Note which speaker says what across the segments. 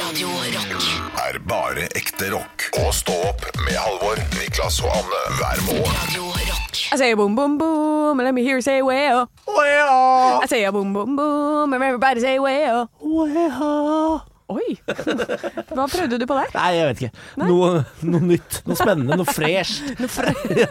Speaker 1: Radio Rock.
Speaker 2: er bare ekte rock. Og stå opp med Halvor, Niklas og Anne hver morgen.
Speaker 1: Radio Rock.
Speaker 3: I say boom boom boom, and let me hear you say well. I say boom boom boom, and everybody say well. Oi! Hva prøvde du på der?
Speaker 4: Nei, jeg vet ikke. Noe, noe nytt, noe spennende, noe fresht.
Speaker 3: Noe fre det,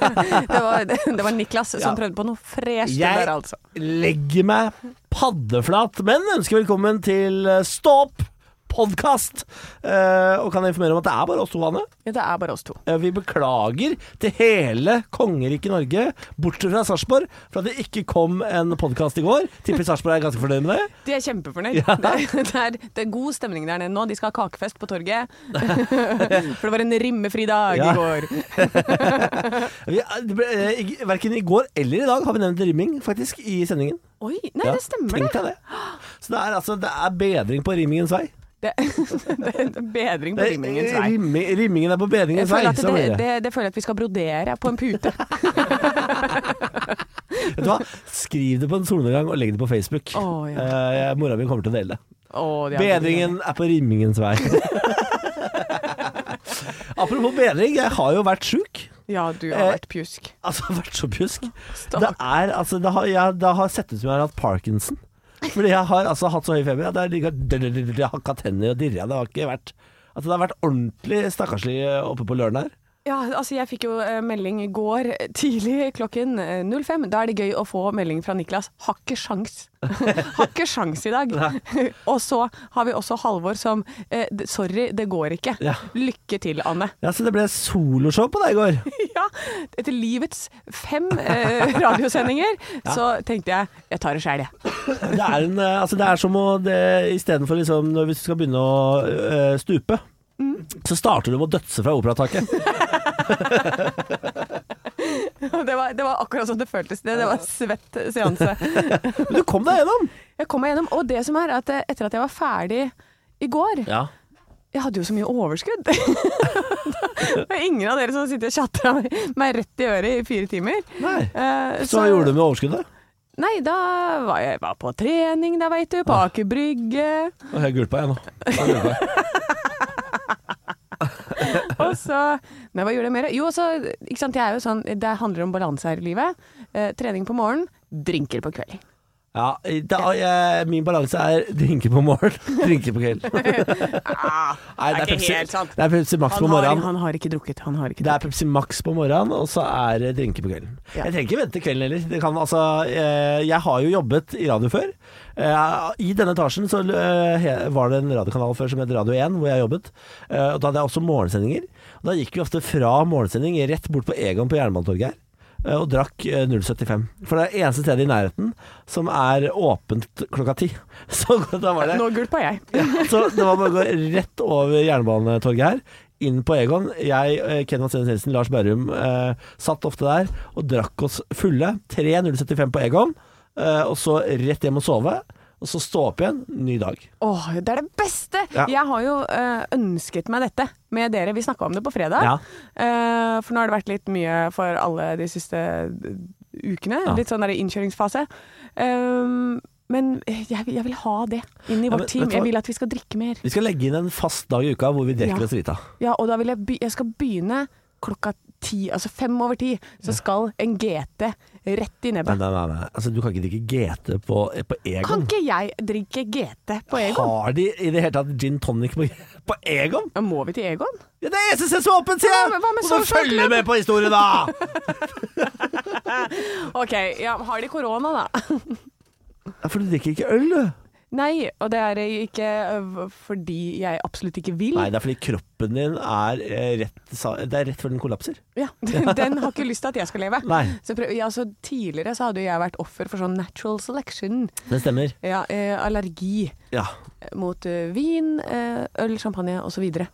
Speaker 3: var, det var Niklas som
Speaker 4: Ja.
Speaker 3: prøvde på noe fresht
Speaker 4: Jeg
Speaker 3: der, altså.
Speaker 4: legger meg paddeflat, men ønsker velkommen til eh, Stå opp podkast. Eh, og kan informere om at det er bare oss to, Anne.
Speaker 3: Ja, det er bare oss to.
Speaker 4: Eh, vi beklager til hele kongeriket Norge, bortsett fra Sarpsborg, for at det ikke kom en podkast i går. Tipper Sarpsborg er ganske fornøyd med det.
Speaker 3: De er kjempefornøyd. Det, det, er, det er god stemning der nede nå. De skal ha kakefest på torget. For det var en rimmefri dag
Speaker 4: Ja.
Speaker 3: i går.
Speaker 4: Vi, det ble, eh, i- verken i går eller i dag har vi nevnt rimming, faktisk, i sendingen.
Speaker 3: Oi, nei,
Speaker 4: Ja,
Speaker 3: det stemmer,
Speaker 4: Tenk
Speaker 3: det.
Speaker 4: deg det. Så det er, altså, det er bedring på rimmingens vei.
Speaker 3: Det, det er bedring på rimmingens vei.
Speaker 4: Rimmi, rimmingen er på bedringens
Speaker 3: Jeg føler
Speaker 4: vei.
Speaker 3: at
Speaker 4: så
Speaker 3: det,
Speaker 4: blir det.
Speaker 3: det, det føler jeg at vi skal brodere på en pute.
Speaker 4: Vet du hva? Skriv det på en solnedgang og legg det på Facebook.
Speaker 3: Å, ja.
Speaker 4: Eh, mora mi kommer til å dele det.
Speaker 3: Å, de har
Speaker 4: Bedringen er på rimmingens vei. Apropos bedring, jeg har jo vært sjuk.
Speaker 3: Ja, du
Speaker 4: Eh,
Speaker 3: har vært pjusk.
Speaker 4: Altså, jeg har vært så pjusk. Det
Speaker 3: Stakkars.
Speaker 4: er altså Det har, jeg, det har sett ut som jeg har hatt parkinson. Fordi jeg har altså hatt så høy feber at jeg har ligget- dr- dr- dr- dr- hakka tenner og dirra. Det har ikke vært Altså, det har vært ordentlig stakkarslig eh, oppe på Løren her.
Speaker 3: Ja, altså jeg fikk jo eh, melding i går eh, tidlig klokken eh, 05. Da er det gøy å få melding fra Niklas. Har ikke sjans. Har ikke sjans i dag. Og så har vi også Halvor som eh, d- Sorry, det går ikke.
Speaker 4: Ja.
Speaker 3: Lykke til, Anne.
Speaker 4: Ja, så det ble soloshow på deg i går.
Speaker 3: Ja, etter livets fem eh, radiosendinger så tenkte jeg jeg tar det sjæl, jeg.
Speaker 4: Det er, en, eh, altså det er som å det- Istedenfor liksom, når- hvis du skal begynne å eh, stupe, så starter du med å dødse fra operataket.
Speaker 3: Det var, det var akkurat sånn det føltes. Det, det var svett seanse.
Speaker 4: Men du kom deg gjennom!
Speaker 3: Jeg kom meg gjennom. Og det som er at eh, etter at jeg var ferdig i går
Speaker 4: Ja.
Speaker 3: Jeg hadde jo så mye overskudd. det er ingen av dere som sitter og chatter meg rett i øret i fire timer.
Speaker 4: Nei.
Speaker 3: Eh,
Speaker 4: Så hva gjorde du med overskuddet?
Speaker 3: Nei, da var jeg var på trening, da veit du. På
Speaker 4: Ah.
Speaker 3: Aker Brygge.
Speaker 4: Å, Jeg gulpa, jeg nå. Jeg gulpa.
Speaker 3: Og så Nei, hva gjorde jeg mer? Jo, så Ikke sant, jeg er jo sånn Det handler om balanse her i livet. Eh, trening på morgenen, drinker på kvelden.
Speaker 4: Ja, da, jeg, min balanse er drinker på morgen, drinker på kvelden. Nei, Ah, det er Pepsi, det er Pepsi Max på
Speaker 3: Han har,
Speaker 4: morgenen.
Speaker 3: han har ikke drukket. Han har ikke
Speaker 4: Det er
Speaker 3: drukket.
Speaker 4: Pepsi Max på morgenen, og så er det drinker på kvelden.
Speaker 3: Ja.
Speaker 4: Jeg trenger ikke vente til kvelden heller. Det kan, altså, eh, jeg har jo jobbet i radio før. Eh, I denne etasjen så eh, he- var det en radiokanal før som het Radio 1, hvor jeg jobbet. Eh, og Da hadde jeg også morgensendinger. Og Da gikk vi ofte fra morgensending rett bort på Egon på Jernbanetorget her. eh, Og drakk eh, 075. For det er det eneste stedet i nærheten som er åpent klokka ti. Så da var det
Speaker 3: Nå gulpa jeg.
Speaker 4: så det var bare å gå rett over Jernbanetorget her, inn på Egon. Jeg, eh, Ken Mads Nilsen, Lars Berrum eh, satt ofte der og drakk oss fulle. 3.075 på Egon, eh, og så rett hjem og sove. Og så stå opp igjen, ny dag.
Speaker 3: Åh, det er det beste!
Speaker 4: Ja.
Speaker 3: Jeg har jo eh, ønsket meg dette med dere. Vi snakka om det på fredag.
Speaker 4: Ja.
Speaker 3: Eh, for nå har det vært litt mye for alle de siste eh, ukene.
Speaker 4: Ja.
Speaker 3: Litt sånn der innkjøringsfase. Um, men jeg, jeg vil ha det inn i vårt
Speaker 4: Ja, men vet
Speaker 3: team.
Speaker 4: du hva?
Speaker 3: Jeg vil at vi skal drikke mer.
Speaker 4: Vi skal legge inn en fast dag i uka hvor vi drikker
Speaker 3: Ja.
Speaker 4: oss drita.
Speaker 3: Ja, og da vil jeg, be jeg skal begynne klokka ti, altså fem over ti. Så skal en GT rett i
Speaker 4: Nei,
Speaker 3: nebbet.
Speaker 4: nei, nei, nei. Altså, du kan ikke drikke GT på, eh, på
Speaker 3: Kan
Speaker 4: Egon.
Speaker 3: ikke jeg drikke GT på Egon?
Speaker 4: Har de i det hele tatt gin tonic på, på Egon?
Speaker 3: Ja, Må vi til Egon?
Speaker 4: Ja, det er SSC som er åpent, sier
Speaker 3: Ja,
Speaker 4: jeg!
Speaker 3: men hva med
Speaker 4: Og så
Speaker 3: Social
Speaker 4: følger
Speaker 3: Club?
Speaker 4: med på historien, da!
Speaker 3: OK, ja, har de korona, da?
Speaker 4: Ja, For du drikker ikke øl, du.
Speaker 3: Nei, og det er ikke ø, fordi jeg absolutt ikke vil.
Speaker 4: Nei, det er fordi kroppen din er eh, rett, sa- det er rett før den kollapser.
Speaker 3: Ja, den har ikke lyst til at jeg skal leve.
Speaker 4: Nei.
Speaker 3: Så prøv, ja, så tidligere så hadde jo jeg vært offer for sånn natural selection.
Speaker 4: Det stemmer.
Speaker 3: Ja, eh, allergi
Speaker 4: Ja.
Speaker 3: mot ø, vin, eh, øl, champagne osv.
Speaker 4: ja.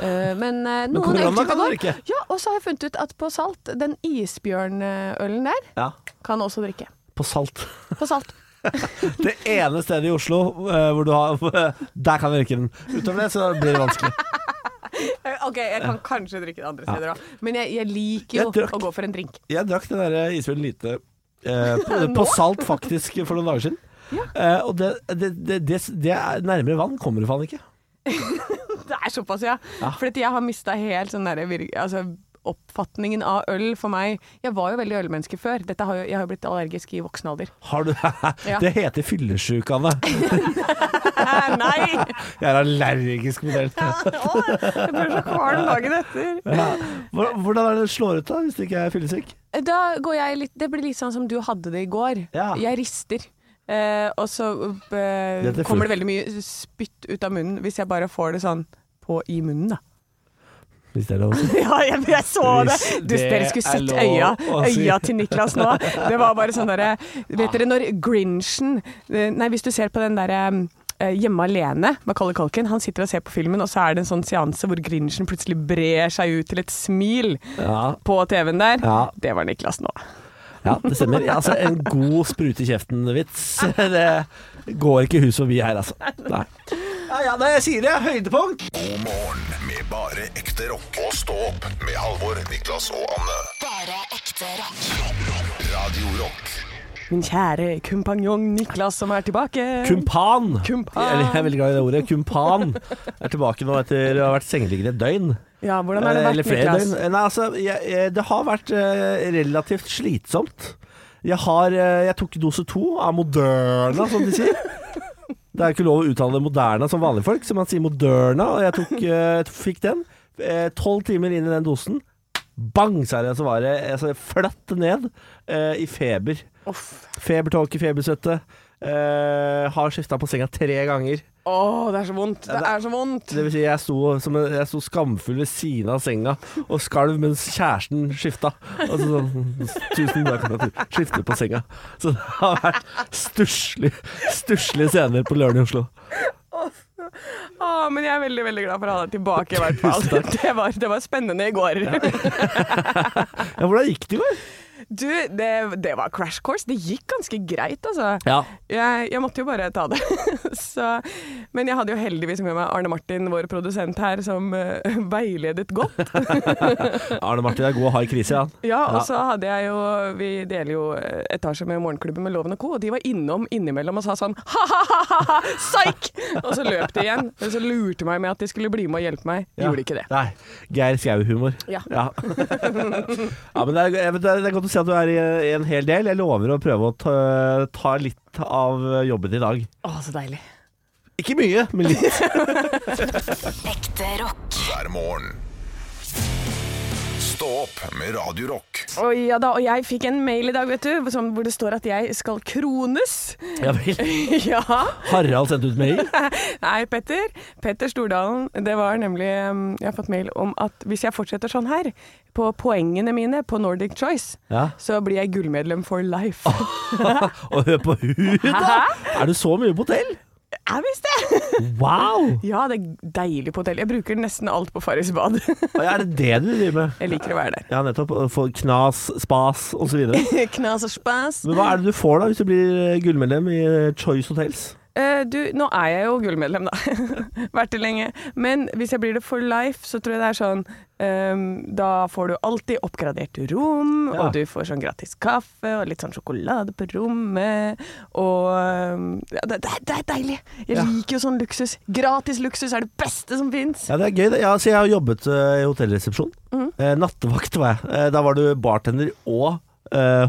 Speaker 3: Uh, men eh, noen
Speaker 4: korona
Speaker 3: øltyper
Speaker 4: kan du
Speaker 3: går.
Speaker 4: drikke.
Speaker 3: Ja, og så har jeg funnet ut at på salt, den isbjørnølen der,
Speaker 4: ja.
Speaker 3: kan også drikke.
Speaker 4: På salt.
Speaker 3: På salt.
Speaker 4: Det ene stedet i Oslo eh, hvor du har Der kan du drikke den. Utover det så blir det vanskelig.
Speaker 3: Eh, Ok, jeg kan kanskje drikke det andre steder òg, men jeg, jeg liker
Speaker 4: Jeg
Speaker 3: jo
Speaker 4: drakk-
Speaker 3: å gå for en drink.
Speaker 4: Jeg drakk den der isbjørn lite eh, på, på salt faktisk for noen dager siden. Eh, og det, det, det, det, det er nærmere vann kommer du faen ikke.
Speaker 3: Det er såpass, ja.
Speaker 4: Ja.
Speaker 3: Fordi jeg har mista helt sånn derre vir- altså, oppfatningen av øl for meg. Jeg var jo veldig ølmenneske før. Dette har jo, jeg har jo blitt allergisk i voksen alder.
Speaker 4: Har du Det heter fyllesyke, Anne.
Speaker 3: Eh, Nei!
Speaker 4: Jeg er allergisk mot øl.
Speaker 3: Å, Jeg blir så kvalm dagen etter.
Speaker 4: Ja. Hvor- Hvordan er det det slår ut, da, hvis du ikke er fyllesyk?
Speaker 3: Da går jeg litt Det blir litt sånn som du hadde det i går.
Speaker 4: Ja.
Speaker 3: Jeg rister. Eh, og så eh,
Speaker 4: Dette er
Speaker 3: kommer
Speaker 4: fullt.
Speaker 3: det veldig mye spytt ut av munnen hvis jeg bare får det sånn på i munnen, da.
Speaker 4: Hvis det er lov å si.
Speaker 3: Ja, jeg, jeg så det.
Speaker 4: Hvis
Speaker 3: Du,
Speaker 4: det
Speaker 3: dere skulle
Speaker 4: er
Speaker 3: sett
Speaker 4: lov
Speaker 3: øya,
Speaker 4: å si.
Speaker 3: øya til Niklas nå. Det var bare sånn derre Vet dere når Grinchen eh, Nei, hvis du ser på den derre eh, Hjemme alene, Macaulay Culkin, han sitter og ser på filmen, og så er det en sånn seanse hvor Grinchen plutselig brer seg ut til et smil
Speaker 4: Ja.
Speaker 3: på TV-en der.
Speaker 4: Ja.
Speaker 3: Det var Niklas nå.
Speaker 4: ja, det stemmer. Ja, altså, en god sprute i kjeften-vits. Det går ikke hus forbi her, altså. Nei. Ja, ja, nei, jeg sier det. Høydepunkt.
Speaker 2: God morgen med bare ekte rock. Og stå opp med Halvor, Niklas og Anne.
Speaker 1: Bare ekte rock.
Speaker 2: Radio Rock.
Speaker 3: Min kjære kumpanjong Niklas som er tilbake.
Speaker 4: Kumpan.
Speaker 3: Kumpan.
Speaker 4: Jeg, jeg er veldig glad i det ordet. Kumpan. Jeg er tilbake nå etter å ha vært sengeliggende et døgn.
Speaker 3: Ja, hvordan har det
Speaker 4: Eh, Eller
Speaker 3: vært,
Speaker 4: flere
Speaker 3: Niklas?
Speaker 4: døgn. Nei, altså, jeg, jeg, det har vært eh, relativt slitsomt. Jeg, har, eh, jeg tok dose to av Moderna, som de sier. Det er ikke lov å uttale det Moderna som vanlige folk, så man sier Moderna, og jeg tok, eh, fikk den. Eh, Tolv timer inn i den dosen. Bang, sa jeg, så var det altså, flatt ned eh, i feber.
Speaker 3: Uff.
Speaker 4: Febertåke, febersvette. Eh, har skifta på senga tre ganger.
Speaker 3: Å, det er så vondt. Det er så vondt.
Speaker 4: Det vil si, jeg sto, som en, jeg sto skamfull ved siden av senga og skalv mens kjæresten skifta. Og så sånn Tusen takk for at du skiftet på senga. Så det har vært stusslig- stusslige scener på lørdag i Oslo.
Speaker 3: Å, men jeg er veldig veldig glad for å ha deg tilbake, i hvert fall. Det var, det var spennende i går.
Speaker 4: Ja, hvordan gikk det i går?
Speaker 3: Du, det, det var crash course. Det gikk ganske greit, altså.
Speaker 4: Ja.
Speaker 3: Jeg, jeg måtte jo bare ta det. Så, men jeg hadde jo heldigvis med meg Arne Martin, vår produsent her, som eh, veiledet godt.
Speaker 4: Arne Martin er god og hard krise, han.
Speaker 3: Ja, og så hadde jeg jo Vi deler jo etasje med Morgenklubben med Loven og co., og de var innom innimellom og sa sånn ha-ha-ha, psyk! Og så løp de igjen. Og så lurte meg med at de skulle bli med og hjelpe meg. De
Speaker 4: Ja.
Speaker 3: Gjorde ikke det.
Speaker 4: Nei. Geir Skau-humor.
Speaker 3: Ja.
Speaker 4: Ja. Ja, men det er, jeg vet- det er godt å si at du er i en hel del. Jeg lover å prøve å ta, ta litt av jobben i dag.
Speaker 3: Å, så deilig.
Speaker 4: Ikke mye, men litt.
Speaker 1: Ekte rock.
Speaker 2: Hver morgen. Stå opp med Radio Rock.
Speaker 3: Å, ja da, og jeg fikk en mail i dag, vet du, som, hvor det står at jeg skal krones.
Speaker 4: Ja vel.
Speaker 3: ja.
Speaker 4: Harald sendte ut mail.
Speaker 3: Nei, Petter. Petter Stordalen. Det var nemlig um, Jeg har fått mail om at hvis jeg fortsetter sånn her, på poengene mine på Nordic Choice,
Speaker 4: Ja.
Speaker 3: så blir jeg gullmedlem for life.
Speaker 4: Og hør på hud, da! Er du så mye på hotell?
Speaker 3: Jeg visste det!
Speaker 4: Wow!
Speaker 3: ja, det er deilig på hotell. Jeg bruker nesten alt på Farris bad. jeg
Speaker 4: Og Er det det du driver med?
Speaker 3: liker å være der.
Speaker 4: Ja, nettopp. Å få Knas, spas osv. Men
Speaker 3: Knas og spas.
Speaker 4: hva er det du får da hvis du blir eh, gullmedlem i Choice Hotels?
Speaker 3: Eh, du, nå er jeg jo gullmedlem, da. Vært det lenge. Men hvis jeg blir det for life, så tror jeg det er sånn ehm, Da får du alltid oppgradert rom,
Speaker 4: Ja.
Speaker 3: og du får sånn gratis kaffe og litt sånn sjokolade på rommet. Og ehm, ja, det, det, er- det er deilig! Jeg
Speaker 4: Ja.
Speaker 3: liker jo sånn luksus. Gratis luksus er det beste som fins.
Speaker 4: Ja, det er gøy. det. Ja, altså, jeg har jobbet eh, i hotellresepsjon. Eh, nattevakt var jeg. Eh, da var du bartender og eh,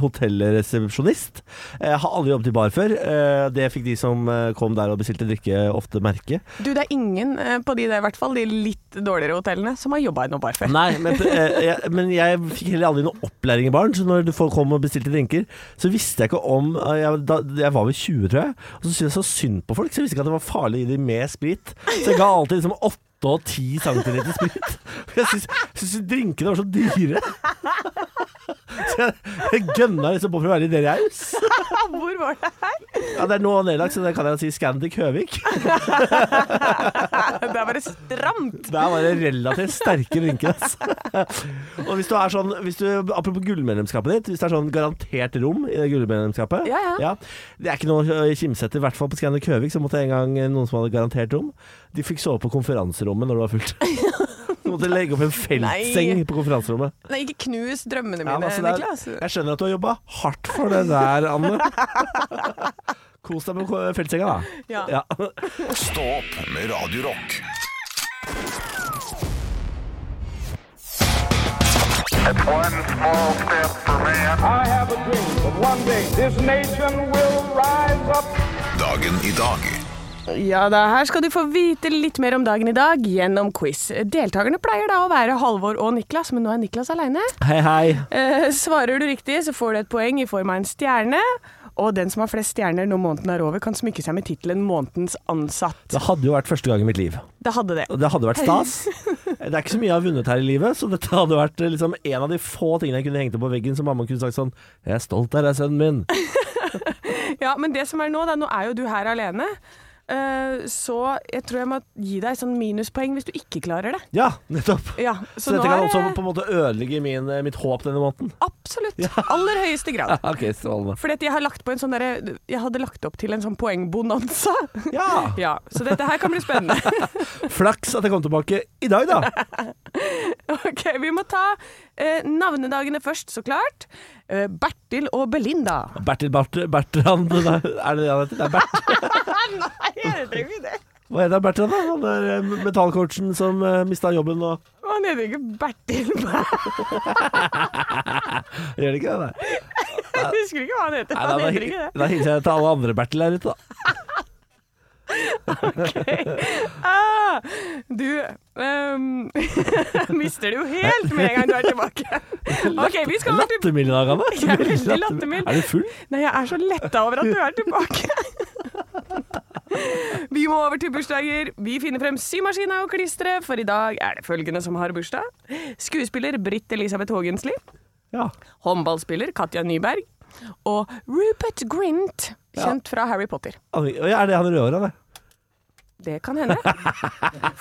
Speaker 4: hotellresepsjonist. Eh, Jeg har aldri jobbet i bar før. Eh, det fikk de som eh, kom der og bestilte drikke, ofte merke.
Speaker 3: Du, det er ingen eh, på de der, i hvert fall de litt dårligere hotellene, som har jobba i noe bar før.
Speaker 4: Nei, men, eh, jeg, men jeg fikk heller aldri noe opplæring i baren, så når du folk kom og bestilte drinker, så visste jeg ikke om eh, Jeg, da, jeg var vel 20, tror jeg, og så syntes jeg så synd på folk, så jeg visste ikke at det var farlig å gi dem mer sprit. Så jeg ga alltid liksom 8 og 10 centiliter sprit. For Jeg syntes- syntes drinkene var så dyre. Så jeg, jeg gønna liksom på for å være litt raus.
Speaker 3: Hvor var det?
Speaker 4: Ja, det er nå nedlagt, så det kan jeg si Scandic Høvik.
Speaker 3: Det er bare stramt!
Speaker 4: Der var det relativt sterke drinker. ass. Og hvis du er sånn hvis du, Apropos gullmedlemskapet ditt. Hvis det er sånn garantert rom i det gullmedlemskapet
Speaker 3: Ja, ja.
Speaker 4: Det er ikke noe å kimse etter. I hvert fall på Scandic Høvik så måtte jeg en gang eh, noen som hadde garantert rom, de fikk sove på konferanserommet når det var fullt. Du måtte legge opp en feltseng
Speaker 3: Nei.
Speaker 4: på konferanserommet.
Speaker 3: Nei, ikke knus drømmene
Speaker 4: Ja,
Speaker 3: mine,
Speaker 4: men altså, det er-
Speaker 3: Niklas.
Speaker 4: jeg skjønner at du har jobba hardt for det der, Anne. Kos deg med ko- feltsenga, da.
Speaker 3: Ja.
Speaker 4: Ja.
Speaker 2: Stå opp med Radio Rock.
Speaker 5: It's one small step for man.
Speaker 6: I have a dream that one day this nation will rise up.
Speaker 2: Dagen i dag.
Speaker 3: Ja da, her skal du få vite litt mer om dagen i dag gjennom quiz. Deltakerne pleier da å være Halvor og Niklas, men nå er Niklas aleine.
Speaker 4: Hei, hei.
Speaker 3: Eh, svarer du riktig, så får du et poeng i form av en stjerne. Og den som har flest stjerner når måneden er over, kan smykke seg med tittelen 'Månedens ansatt'.
Speaker 4: Det hadde jo vært første gang i mitt liv.
Speaker 3: Det hadde det.
Speaker 4: Og Det hadde vært stas. Det er ikke så mye jeg har vunnet her i livet, så dette hadde vært eh, liksom en av de få tingene jeg kunne hengt opp på veggen som mamma kunne sagt sånn Jeg er stolt av deg, sønnen min.
Speaker 3: Ja, Men det som er nå, da, nå er jo du her alene. Eh, så jeg tror jeg må gi deg sånn minuspoeng hvis du ikke klarer det.
Speaker 4: Ja, nettopp.
Speaker 3: Ja,
Speaker 4: Så,
Speaker 3: så, nå
Speaker 4: dette kan
Speaker 3: er
Speaker 4: også
Speaker 3: det
Speaker 4: på en måte ødelegge min, eh, mitt håp denne måneden.
Speaker 3: absolutt aller høyeste grad.
Speaker 4: Ok, strålende.
Speaker 3: Fordi at jeg har lagt på en sånn derre Jeg hadde lagt opp til en sånn poengbonanza.
Speaker 4: Ja!
Speaker 3: Ja, så dette her kan bli spennende.
Speaker 4: Flaks at jeg kom tilbake i dag, da.
Speaker 3: Ok, Vi må ta eh, navnedagene først, så klart. Eh, Bertil og Belinda.
Speaker 4: Bertil Bart Bertrand nei, Er det det han heter? Det er Bert.
Speaker 3: Nei, jeg trenger ikke det.
Speaker 4: Hva heter han Bertrand, da? Han er eh, metallcoachen som uh, mista jobben og
Speaker 3: Han heter ikke Bertil
Speaker 4: Gjør det ikke det? Nei,
Speaker 3: Jeg husker ikke hva han heter.
Speaker 4: nei
Speaker 3: Han
Speaker 4: da,
Speaker 3: heter
Speaker 4: da,
Speaker 3: ikke det.
Speaker 4: da hilser jeg til alle andre Bertil her ute, da.
Speaker 3: Ah, du ehm, mister det jo helt med en gang du er tilbake. Ok, vi skal over til
Speaker 4: Lattermild i dag, Anne.
Speaker 3: Jeg er veldig lattermild.
Speaker 4: Er du full?
Speaker 3: Nei, jeg er så letta over at du er tilbake. Vi må over til bursdager. Vi finner frem symaskina og klisteret, for i dag er det følgende som har bursdag. Skuespiller Britt Elisabeth Haagensli.
Speaker 4: Ja.
Speaker 3: Håndballspiller Katja Nyberg. Og Rupert Grint, kjent fra Harry Potter.
Speaker 4: Han- Oi, Er det han rødhåra, det?
Speaker 3: Det kan hende.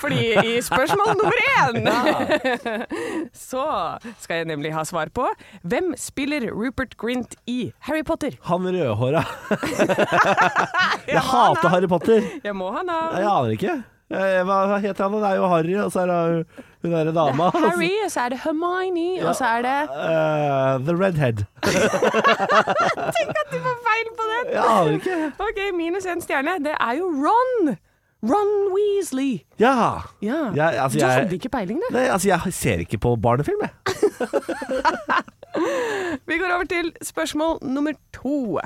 Speaker 3: Fordi i spørsmål nummer én så skal jeg nemlig ha svar på hvem spiller Rupert Grint i Harry Potter?
Speaker 4: Han rødhåra. Jeg
Speaker 3: må ha
Speaker 4: hater
Speaker 3: navn.
Speaker 4: Harry Potter.
Speaker 3: Jeg må ha
Speaker 4: Nei,
Speaker 3: navn.
Speaker 4: Jeg aner ikke. Eh, Hva hva heter han? Det er jo Harry, og så er det hun derre dama.
Speaker 3: Harry, og så er det Hermione, og så er det
Speaker 4: Eh, the Redhead.
Speaker 3: Du får feil på den!
Speaker 4: Jeg aner ikke.
Speaker 3: OK, minus én stjerne. Det er jo Ron. Ron Weasley.
Speaker 4: Ja.
Speaker 3: Ja.
Speaker 4: Jeg- altså,
Speaker 3: du
Speaker 4: jeg-
Speaker 3: hadde ikke peiling, du.
Speaker 4: Nei, altså, jeg ser ikke på barnefilm, jeg.
Speaker 3: Vi går over til spørsmål nummer to.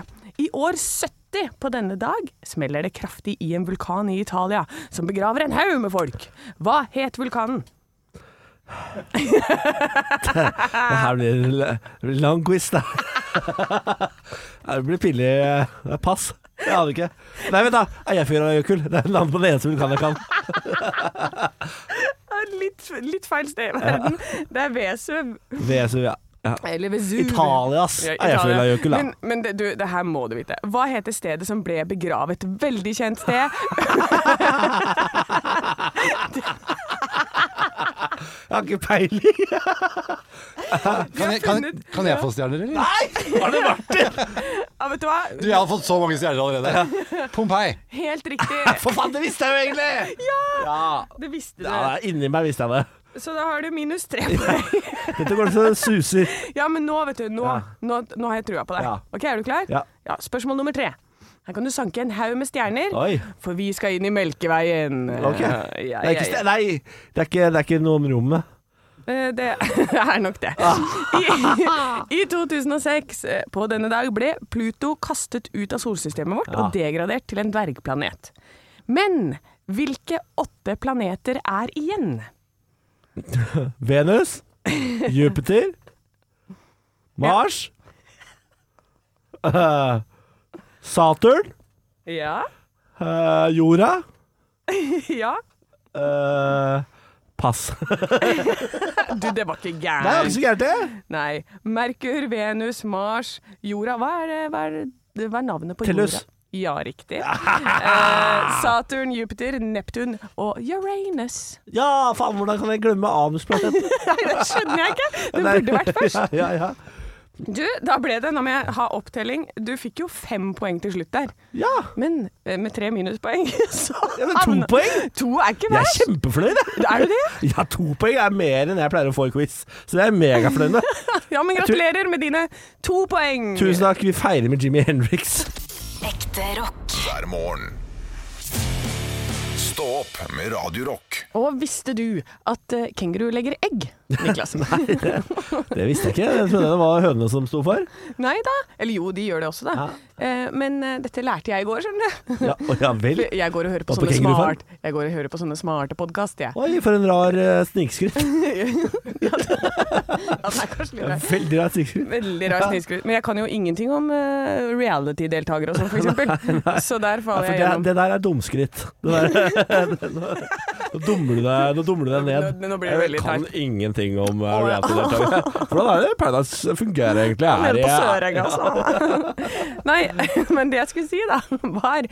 Speaker 3: I år 70 på denne dag smeller det kraftig i en vulkan i Italia som begraver en haug med folk. Hva het vulkanen?
Speaker 4: Det her blir l- lang quiz, da. Det blir pinlig eh, pass. Jeg aner ikke. Nei, vent, da. Eyjafjørajøkull. Det er navnet på den eneste vulkanen jeg kan.
Speaker 3: Ah, Litt, litt feil sted i verden. Det er Vesuv.
Speaker 4: Vesuv, ja. ja.
Speaker 3: Eller Vesuv.
Speaker 4: Italias
Speaker 3: Ja,
Speaker 4: Eyjafjørajøkull,
Speaker 3: Men,
Speaker 4: da.
Speaker 3: men det, du, det her må du vite. Hva heter stedet som ble begravet? Veldig kjent sted.
Speaker 4: Jeg har ikke peiling.
Speaker 7: Kan jeg, kan,
Speaker 3: funnet-
Speaker 7: kan jeg få stjerner, eller?
Speaker 4: Har det vært det?
Speaker 3: Ja, vet du hva?
Speaker 7: Du, jeg har fått så mange stjerner allerede. Pompeii.
Speaker 3: Helt riktig.
Speaker 4: For faen, det visste jeg jo egentlig!
Speaker 3: Ja!
Speaker 4: Ja.
Speaker 3: Det visste
Speaker 4: Ja,
Speaker 3: du.
Speaker 4: inni meg visste jeg det.
Speaker 3: Så da har du minus tre poeng.
Speaker 4: Dette går så det suser.
Speaker 3: Ja, men nå, vet du. Nå,
Speaker 4: Ja.
Speaker 3: nå, nå har jeg trua på deg.
Speaker 4: Ja.
Speaker 3: Ok, Er du klar?
Speaker 4: Ja.
Speaker 3: Spørsmål nummer tre. Her kan du sanke en haug med stjerner,
Speaker 4: Oi.
Speaker 3: for vi skal inn i Melkeveien.
Speaker 4: Ok.
Speaker 3: Ja,
Speaker 4: Det
Speaker 3: ja,
Speaker 4: er ikke,
Speaker 3: ja.
Speaker 4: ste- nei, det er ikke, det er ikke noe om rommet.
Speaker 3: Eh, Det er nok det. I, I 2006, eh, på denne dag, ble Pluto kastet ut av solsystemet vårt og degradert til en dvergplanet. Men hvilke åtte planeter er igjen?
Speaker 4: Venus, Jupiter, Mars, eh, Saturn,
Speaker 3: Ja,
Speaker 4: eh, jorda
Speaker 3: ja.
Speaker 4: eh, Pass. Det
Speaker 3: Du, det var ikke
Speaker 4: er
Speaker 3: gærent.
Speaker 4: ikke så gærent, det.
Speaker 3: Nei. Merkur, Venus, Mars, jorda. Hva er, det, hva er, det, hva er navnet på
Speaker 4: Tellus.
Speaker 3: jorda? Ja, riktig. Eh, Saturn, Jupiter, Neptun og Uranus.
Speaker 4: Ja, faen, hvordan kan jeg glemme anusplaneten?
Speaker 3: Nei, det skjønner jeg ikke! Det burde vært først.
Speaker 4: Ja, ja,
Speaker 3: Du, da ble det, nå må jeg ha opptelling Du fikk jo fem poeng til slutt der.
Speaker 4: ja. ja.
Speaker 3: Men eh, med tre minuspoeng, så
Speaker 4: ja men to
Speaker 3: havna-
Speaker 4: poeng!
Speaker 3: To er ikke
Speaker 4: Jeg er
Speaker 3: verst.
Speaker 4: kjempefornøyd, jeg.
Speaker 3: Er du det?
Speaker 4: Ja, to poeng er mer enn jeg pleier å få i quiz, så det er megafornøyd med.
Speaker 3: Ja, men
Speaker 4: tror-
Speaker 3: gratulerer med dine to poeng.
Speaker 4: Tusen takk, vi feirer med Jimmy Henriks.
Speaker 1: Ekte rock.
Speaker 2: hver morgen. Stå opp med Radio Rock.
Speaker 3: Og visste du at eh, kenguru legger egg, Niklas? Nei.
Speaker 4: Det visste jeg ikke. Jeg trodde det var hønene som sto for.
Speaker 3: da. Eller jo, de gjør det også, da. Eh, Men eh, dette lærte jeg i går, skjønner du.
Speaker 4: Ja, å, ja vel.
Speaker 3: Jeg går og hører på,
Speaker 4: Var på
Speaker 3: sånne,
Speaker 4: kengurufarm?
Speaker 3: smart, jeg går og hører på sånne smarte podkast, jeg.
Speaker 4: Oi, for en rar uh, snikskryt.
Speaker 3: Ja, det er kanskje litt rart.
Speaker 4: Veldig rar snikskryt.
Speaker 3: Veldig rar snikskryt. Men jeg kan jo ingenting om eh, reality-deltakere og sånn, for eksempel. Så der faller
Speaker 4: Ja, for
Speaker 3: jeg
Speaker 4: det,
Speaker 3: gjennom.
Speaker 4: det der er dumskritt. Det der, nå, dummer du deg, nå dummer du deg ned.
Speaker 3: Nå- nå blir det veldig
Speaker 4: jeg kan
Speaker 3: teit.
Speaker 4: ingenting om uh, reality-deltakere. Hvordan er det Paradise fungerer egentlig? Er
Speaker 3: Nede på
Speaker 4: det-
Speaker 3: Sørenga, altså. Nei, men det jeg skulle si, da, var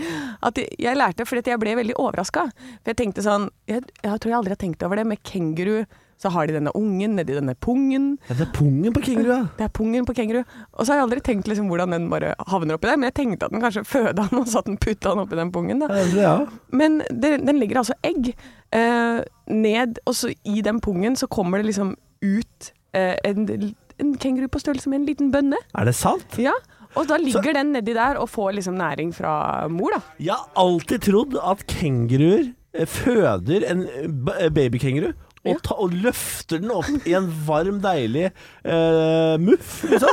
Speaker 3: at jeg lærte fordi at jeg ble veldig overraska. For jeg tenkte sånn jeg, jeg tror jeg aldri har tenkt over det. Med kenguru så har de denne ungen nedi denne pungen.
Speaker 4: Ja, det er pungen på kenguru, ja.
Speaker 3: Det er pungen på kenguru. Og så har jeg aldri tenkt liksom hvordan den bare havner oppi der, men jeg tenkte at den kanskje føda han og satt den putta han oppi den pungen. da.
Speaker 4: Ja, det- ja.
Speaker 3: Men det, den legger altså egg eh, ned, og så i den pungen så kommer det liksom ut eh, en, en kenguru på størrelse med en liten bønne.
Speaker 4: Er det sant?
Speaker 3: Ja, og da ligger den nedi der og får liksom næring fra mor, da.
Speaker 4: Jeg har alltid trodd at kenguruer eh, føder en eh, ba- eh, babykenguru. Og,
Speaker 3: Ja.
Speaker 4: ta, og løfter den opp i en varm, deilig eh, muff, liksom.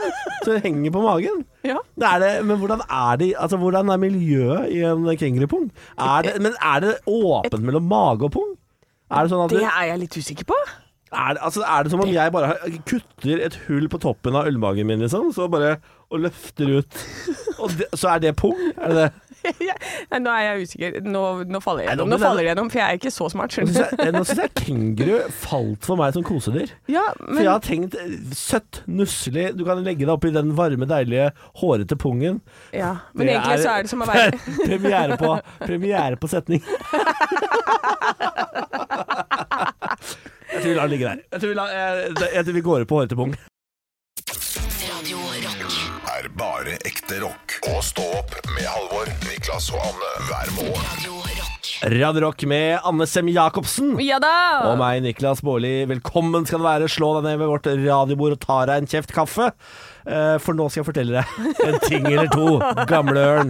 Speaker 4: Så den henger på magen.
Speaker 3: Ja.
Speaker 4: Det er det, men hvordan er, de, altså, hvordan er miljøet i en kengurupung? Er det, men er det åpent mellom mage og pung? Er det, sånn at
Speaker 3: Det
Speaker 4: det,
Speaker 3: er jeg litt usikker på.
Speaker 4: er, det, altså, er det som om jeg bare har- kutter et hull på toppen av ølmagen min, liksom? Så bare og løfter ut. Og det, så er det pung? Er det det?
Speaker 3: Nei, nå er jeg usikker. Nå, nå faller jeg
Speaker 4: Nei, nå
Speaker 3: gjennom, nå
Speaker 4: blir det-
Speaker 3: faller jeg gjennom, for jeg er ikke så smart.
Speaker 4: Nå
Speaker 3: skjønner
Speaker 4: syns jeg, nå synes jeg kenguru falt for meg som kosedyr.
Speaker 3: du. Ja,
Speaker 4: For
Speaker 3: men
Speaker 4: jeg har tenkt eh, søtt, nusselig Du kan legge deg oppi den varme, deilige, hårete pungen.
Speaker 3: Ja, men
Speaker 4: Det
Speaker 3: egentlig så er det som å være
Speaker 4: premiere, på, premiere på setning. jeg tror vi lar den ligge der. Jeg tror vi, lar, jeg, jeg tror vi går ut på hårete pung.
Speaker 1: Radio Rock.
Speaker 2: er bare ekte rock. Og stå opp med Halvor, Niklas og Anne hver morgen.
Speaker 1: Radio Rock.
Speaker 4: Radio Rock med Anne Sem Jacobsen.
Speaker 3: Ja da!
Speaker 4: Og meg, Niklas Baarli. Velkommen skal du være. Slå deg ned ved vårt radiobord og ta deg en kjeft kaffe. Eh, For nå skal jeg fortelle deg en ting eller to, gamle ørn.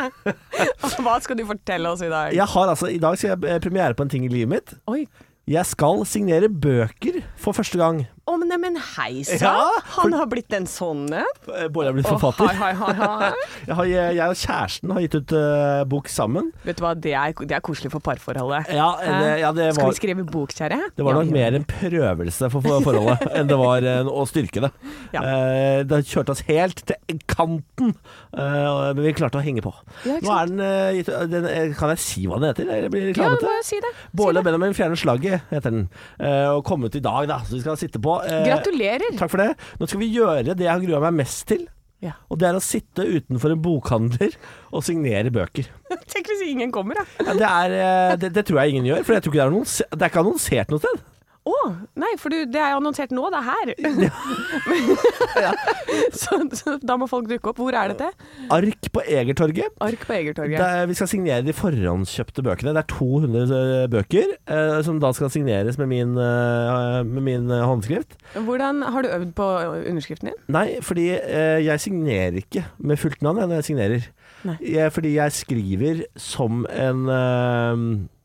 Speaker 3: Hva skal du fortelle oss i dag?
Speaker 4: Jeg har altså, I dag skal jeg eh, premiere på en ting i livet mitt.
Speaker 3: Oi.
Speaker 4: Jeg skal signere bøker for første gang.
Speaker 3: Å, men neimen, hei sann!
Speaker 4: Ja, for-
Speaker 3: Han har blitt en sånn en.
Speaker 4: Eh, Bård er blitt
Speaker 3: Å,
Speaker 4: forfatter.
Speaker 3: Hei, hei, hei, hei.
Speaker 4: Jeg, har, eh, jeg og kjæresten har gitt ut eh, bok sammen.
Speaker 3: Vet du hva, det er, det er koselig for parforholdet.
Speaker 4: Ja, det, ja, det
Speaker 3: Skal
Speaker 4: var,
Speaker 3: vi skrive bok, kjære?
Speaker 4: det var
Speaker 3: Ja,
Speaker 4: nok
Speaker 3: vi-
Speaker 4: mer en prøvelse for for forholdet enn det var eh, å styrke det.
Speaker 3: Ja.
Speaker 4: Eh, det kjørte oss helt til kanten, eh, men vi klarte å henge på.
Speaker 3: Ja, ikke
Speaker 4: Nå er den, eh, gitt, den eh, Kan jeg si hva den heter? Eller blir det
Speaker 3: Ja,
Speaker 4: reklamete?
Speaker 3: bare si det. Si
Speaker 4: Bårle
Speaker 3: det.
Speaker 4: og Benjamin fjerner slagget, heter den. Eh, og kom ut i dag, da, så vi skal sitte på. Eh,
Speaker 3: Gratulerer.
Speaker 4: Takk for det. Nå skal vi gjøre det jeg har grua meg mest til.
Speaker 3: Ja.
Speaker 4: Og det er å sitte utenfor en bokhandler og signere bøker.
Speaker 3: Tenk hvis ingen kommer, da.
Speaker 4: Ja, det, er, eh, det, det tror jeg ingen gjør, for jeg tror ikke det er, annonse, det er ikke annonsert noe sted.
Speaker 3: Å, nei, for du, det er jo annonsert nå, det er her. så, så da må folk dukke opp. Hvor er dette?
Speaker 4: Ark på Egertorget.
Speaker 3: Ark på Egertorget.
Speaker 4: Der vi skal signere de forhåndskjøpte bøkene. Det er 200 bøker eh, som da skal signeres med min, eh, med min eh, håndskrift.
Speaker 3: Hvordan har du øvd på underskriften din?
Speaker 4: Nei, fordi eh, jeg signerer ikke med fullt navn jeg, når jeg signerer.
Speaker 3: Nei.
Speaker 4: Jeg, fordi jeg skriver som en eh,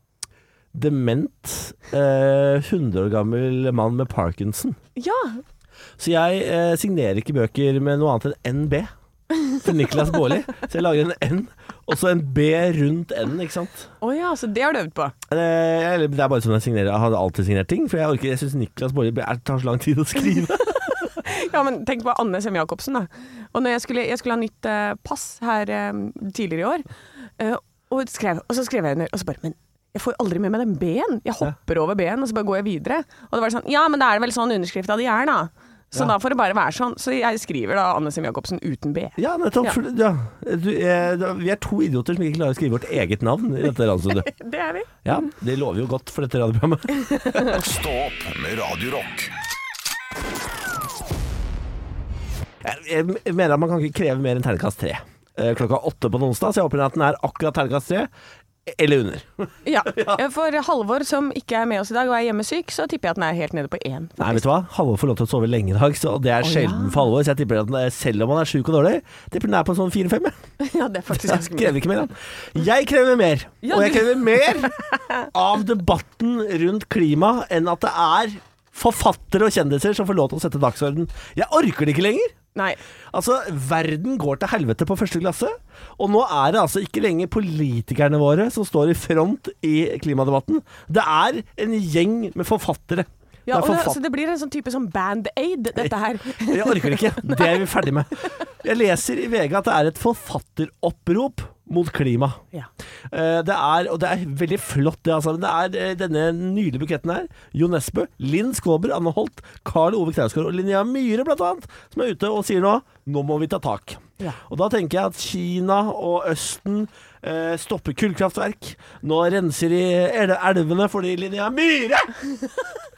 Speaker 4: dement eh, 100 år gammel mann med parkinson.
Speaker 3: Ja,
Speaker 4: Så jeg eh, signerer ikke bøker med noe annet enn NB. For Niklas Baarli. Så jeg lager en N, og så en B rundt N, ikke sant.
Speaker 3: å ja, så det har du øvd på.
Speaker 4: Eh, Eller det er bare sånn jeg signerer. Jeg har alltid signert ting, for jeg orker Jeg syns Niklas Baarli er- tar så lang tid å skrive.
Speaker 3: Ja, men tenk på Anne Sem Jacobsen, da. Og når jeg skulle, jeg skulle ha nytt eh, pass her eh, tidligere i år, eh, og, skrev, og så skrev jeg under, og så bare Men jeg får jo aldri med meg den B-en. Jeg hopper over B-en, og så bare går jeg videre. Og det var sånn Ja, men da er det vel sånn underskrifta di er, da. Så
Speaker 4: Ja.
Speaker 3: da får det bare være sånn. Så jeg skriver da Anne Sem Jacobsen uten B.
Speaker 4: Ja, nettopp.
Speaker 3: Ja.
Speaker 4: for- Ja. Du, eh, da- vi er to idioter som ikke klarer å skrive vårt eget navn i dette radiostudiet.
Speaker 3: Det er vi.
Speaker 4: Ja, det lover jo godt for dette radioprogrammet.
Speaker 2: Stå opp med Radio Rock.
Speaker 4: Jeg, jeg mener at man kan ikke kreve mer enn terningkast tre. Eh, Klokka åtte på en onsdag, så jeg håper at den er akkurat terningkast tre. eller under.
Speaker 3: Ja. Eh, For Halvor, som ikke er med oss i dag og er hjemmesyk, så tipper jeg at den er helt nede på én.
Speaker 4: Nei, vet du hva? Halvor får lov til å sove lenge i dag, så det er sjelden for Halvor. Så jeg tipper at den er- selv om han er sjuk og dårlig, tipper den er på sånn fire-fem. jeg.
Speaker 3: Ja, det er faktisk
Speaker 4: Jeg
Speaker 3: ganske mye.
Speaker 4: krever ikke mer. da. Jeg krever mer,
Speaker 3: Ja,
Speaker 4: og jeg
Speaker 3: du-
Speaker 4: krever mer av debatten rundt klima enn at det er forfattere og kjendiser som får lov til å sette dagsorden. Jeg orker det ikke lenger!
Speaker 3: Nei.
Speaker 4: Altså, verden går til helvete på første klasse, og nå er det altså ikke lenger politikerne våre som står i front i klimadebatten. Det er en gjeng med forfattere.
Speaker 3: Ja,
Speaker 4: det
Speaker 3: og
Speaker 4: er
Speaker 3: det,
Speaker 4: forfatt-
Speaker 3: så det blir en sånn type sånn band-aid, dette her.
Speaker 4: jeg orker det ikke. Det er vi ferdig med. Jeg leser i VG at det er et forfatteropprop mot klima.
Speaker 3: Ja.
Speaker 4: Eh, Det er, og det er veldig flott, det, altså. Men det er eh, denne nydelige buketten her. Jo Nesbø, Linn Skåber, Anne Holt, Carl Ove Knausgård og Linnea Myhre, blant annet, som er ute og sier nå nå må vi ta tak.
Speaker 3: Ja.
Speaker 4: Og da tenker jeg at Kina og Østen eh, stopper kullkraftverk. Nå renser de el- elvene fordi Linnea Myhre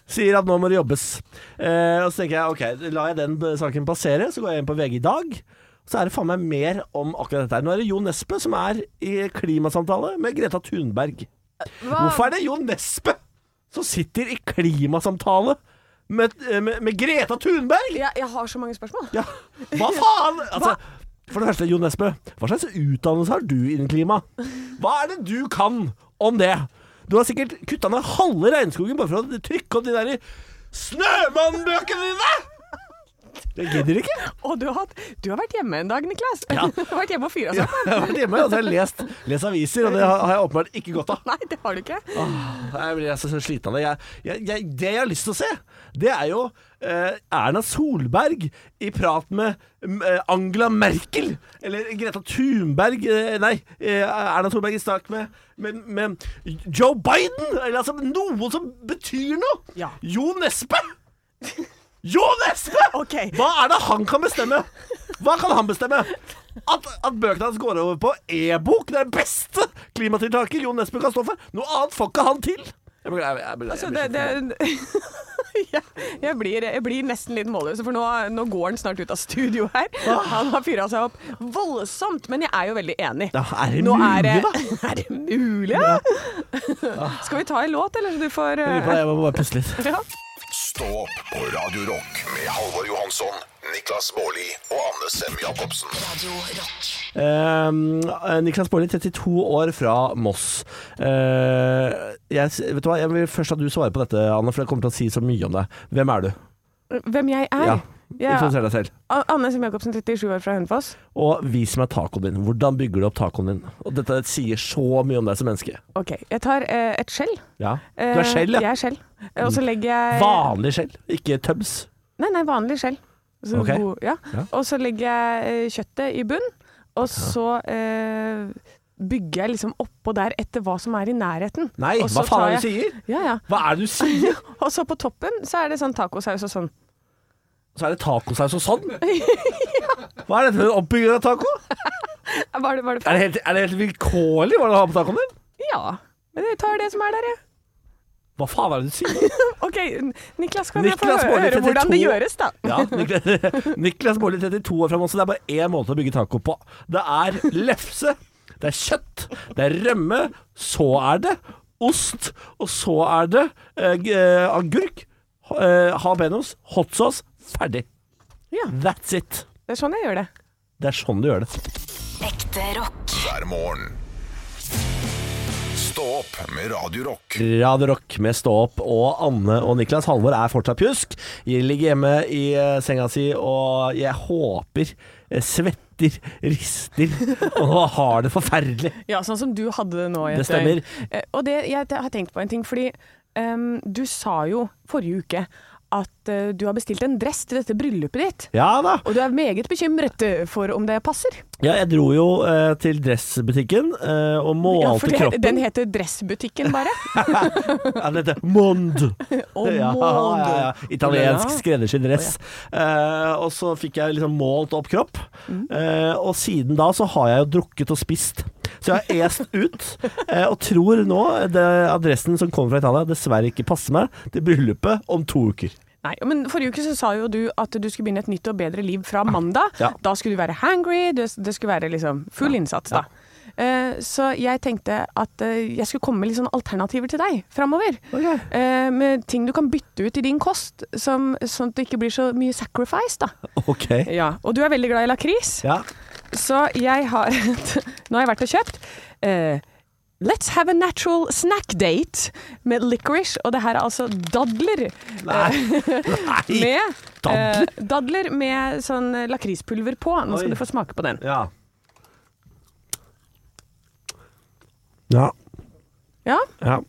Speaker 4: sier at nå må det jobbes. Eh, og så tenker jeg ok, lar jeg den saken passere, så går jeg inn på VG i dag. Så er det faen meg mer om akkurat dette. her. Nå er det Jo Nesbø som er i klimasamtale med Greta Thunberg. Hvorfor er det Jo Nesbø som sitter i klimasamtale med, eh, med, med Greta Thunberg?!
Speaker 3: Ja, jeg har så mange spørsmål.
Speaker 4: Ja, hva faen?! Altså, for det første, Jo Nesbø, hva slags utdannelse har du innen klima? Hva er det du kan om det? Du har sikkert kutta ned halve regnskogen bare for å trykke opp de der Snømann-bøkene dine! Jeg gidder ikke.
Speaker 3: Og du har, hatt, du har vært hjemme en dag, Niklas.
Speaker 4: Ja.
Speaker 3: Du har vært hjemme og fyra
Speaker 4: Jeg
Speaker 3: sammen.
Speaker 4: har vært hjemme og så har jeg lest, lest aviser, og det har har jeg åpenbart ikke godt av.
Speaker 3: Nei, det har du ikke.
Speaker 4: Jeg blir altså så sliten av det. Jeg, jeg, jeg, det jeg har lyst til å se, det er jo eh, Erna Solberg i prat med mm, eh, Angela Merkel. Eller Greta Thunberg eh, Nei, eh, Erna Solberg i stak med, med, med Joe Biden! Eller altså noe som betyr noe!
Speaker 3: Ja.
Speaker 4: Jo Nesbø! Jo Nesbø!
Speaker 3: Ok.
Speaker 4: Hva er det han kan bestemme? Hva kan han bestemme? At, at bøkene hans går over på e-bok, det er det beste klimatiltaket Jon Nesbø kan stå for. Noe annet får ikke han til. Jeg beklager, jeg, jeg, jeg,
Speaker 3: Så Altså,
Speaker 4: jeg,
Speaker 3: det,
Speaker 4: blir
Speaker 3: det,
Speaker 4: så forbanna.
Speaker 3: jeg, jeg, blir, jeg blir nesten litt målløs, for nå, nå går han snart ut av studio her. Han har fyra seg opp voldsomt, men jeg er jo veldig enig.
Speaker 4: Ja, er det
Speaker 3: Nå
Speaker 4: mulig,
Speaker 3: er
Speaker 4: da?
Speaker 3: Er det mulig, da? Skal vi ta en låt, eller så du får eh,
Speaker 4: Jeg lurer på det, jeg må bare puste litt.
Speaker 3: ja.
Speaker 2: Stå opp på Radio Rock med Halvor Johansson, Niklas Baarli og Anne Sem Jacobsen.
Speaker 1: Radio Rock.
Speaker 4: Ehm, Niklas Baarli, 32 år fra Moss. Eh, jeg, s- vet du hva, jeg vil først at du svarer på dette, Anne, for jeg kommer til å si så mye om deg. Hvem er du?
Speaker 3: Hvem jeg er?
Speaker 4: Ja.
Speaker 3: Ja.
Speaker 4: Introduser deg selv.
Speaker 3: A- Anne Sem Jacobsen, 37 år fra Hønefoss.
Speaker 4: Og vis meg tacoen din. Hvordan bygger du opp tacoen din? Og dette sier så mye om deg som menneske.
Speaker 3: OK. Jeg tar eh, et skjell.
Speaker 4: Ja. Du
Speaker 3: Eh,
Speaker 4: er skjell, ja.
Speaker 3: Jeg er skjell. Eh, Og så legger jeg
Speaker 4: Vanlig skjell, ikke tøms.
Speaker 3: Nei, nei, vanlig skjell. Så
Speaker 4: Ok.
Speaker 3: god- ja.
Speaker 4: Ja.
Speaker 3: Og så legger jeg eh, kjøttet i bunn, og så eh, bygger jeg liksom oppå der etter hva som er i nærheten.
Speaker 4: Nei,
Speaker 3: Og
Speaker 4: hva
Speaker 3: så
Speaker 4: faen
Speaker 3: tar
Speaker 4: er det du sier?
Speaker 3: Ja, ja.
Speaker 4: Hva er det du sier?
Speaker 3: Og så på toppen så er det sånn tacosaus og sånn.
Speaker 4: Så er det tacosaus og sånn? Hva er dette for en oppbygging av taco?
Speaker 3: Var det, var det
Speaker 4: Er det helt, er det helt vilkårlig hva du har på tacoen din?
Speaker 3: Ja. Men jeg tar det som er der, jeg.
Speaker 4: Hva faen er det du sier?
Speaker 3: OK, Niklas, kan jeg
Speaker 4: Niklas
Speaker 3: få hø-
Speaker 4: Baarli,
Speaker 3: høre hvordan det
Speaker 4: 32.
Speaker 3: gjøres, da?
Speaker 4: Ja, Niklas, Niklas Baarli, 32 år fra Moss, og det er bare én måte å bygge taco på. Det er lefse, det er kjøtt, det er rømme, så er det ost, og så er det eh, g- eh, agurk, eh, jalapeños, hot sauce, ferdig.
Speaker 3: Ja.
Speaker 4: That's it.
Speaker 3: Det er sånn jeg gjør det.
Speaker 4: Det er sånn du gjør det.
Speaker 1: Ekte rock.
Speaker 2: hver morgen. Stå opp med Radio Rock.
Speaker 4: Radio Rock med Stå opp og Anne og Niklas. Halvor er fortsatt pjusk. Jeg ligger hjemme i eh, senga si og jeg håper jeg svetter, rister og har det forferdelig.
Speaker 3: Ja, sånn som du hadde det nå. i
Speaker 4: Det
Speaker 3: et døgn.
Speaker 4: stemmer.
Speaker 3: Eh, Og det, jeg har tenkt på en ting, fordi ehm, du sa jo forrige uke at eh, du har bestilt en dress til dette bryllupet ditt.
Speaker 4: Ja da.
Speaker 3: Og du er meget bekymret eh, for om det passer.
Speaker 4: Ja, jeg dro jo eh, til dressbutikken eh, og
Speaker 3: Ja,
Speaker 4: målte
Speaker 3: for det,
Speaker 4: kroppen.
Speaker 3: den heter Dressbutikken, bare.
Speaker 4: Ja, den heter Mond.
Speaker 3: Og
Speaker 4: Ja,
Speaker 3: Mondo.
Speaker 4: ja, ja. Italiensk
Speaker 3: Ja.
Speaker 4: skreddersydd dress. Eh, og så fikk jeg liksom målt opp kropp.
Speaker 3: Mm.
Speaker 4: Eh, og siden da så har jeg jo drukket og spist. Så jeg har est ut, eh, og tror nå det adressen som kommer fra Italia dessverre ikke passer meg til bryllupet om to uker.
Speaker 3: Nei, men Forrige uke så sa jo du at du skulle begynne et nytt og bedre liv fra mandag.
Speaker 4: Ja.
Speaker 3: Da skulle du være hangry, det, det skulle være liksom full innsats. da. Eh, så jeg tenkte at eh, jeg skulle komme med litt sånn alternativer til deg framover.
Speaker 4: Ok.
Speaker 3: Eh, med ting du kan bytte ut i din kost, som, sånn at det ikke blir så mye sacrifice, da.
Speaker 4: Ok.
Speaker 3: Ja. Og du er veldig glad i lakris,
Speaker 4: Ja.
Speaker 3: så jeg har Nå har jeg vært og kjøpt. eh, Let's have a natural snack date med licorice. Og det her er altså dadler.
Speaker 4: Nei.
Speaker 3: eh,
Speaker 4: Nei.
Speaker 3: Med,
Speaker 4: dadler?
Speaker 3: eh, dadler med sånn eh, lakrispulver på. Nå skal
Speaker 4: Oi.
Speaker 3: du få smake på den.
Speaker 4: Ja. Ja.
Speaker 3: Ja,
Speaker 4: ja.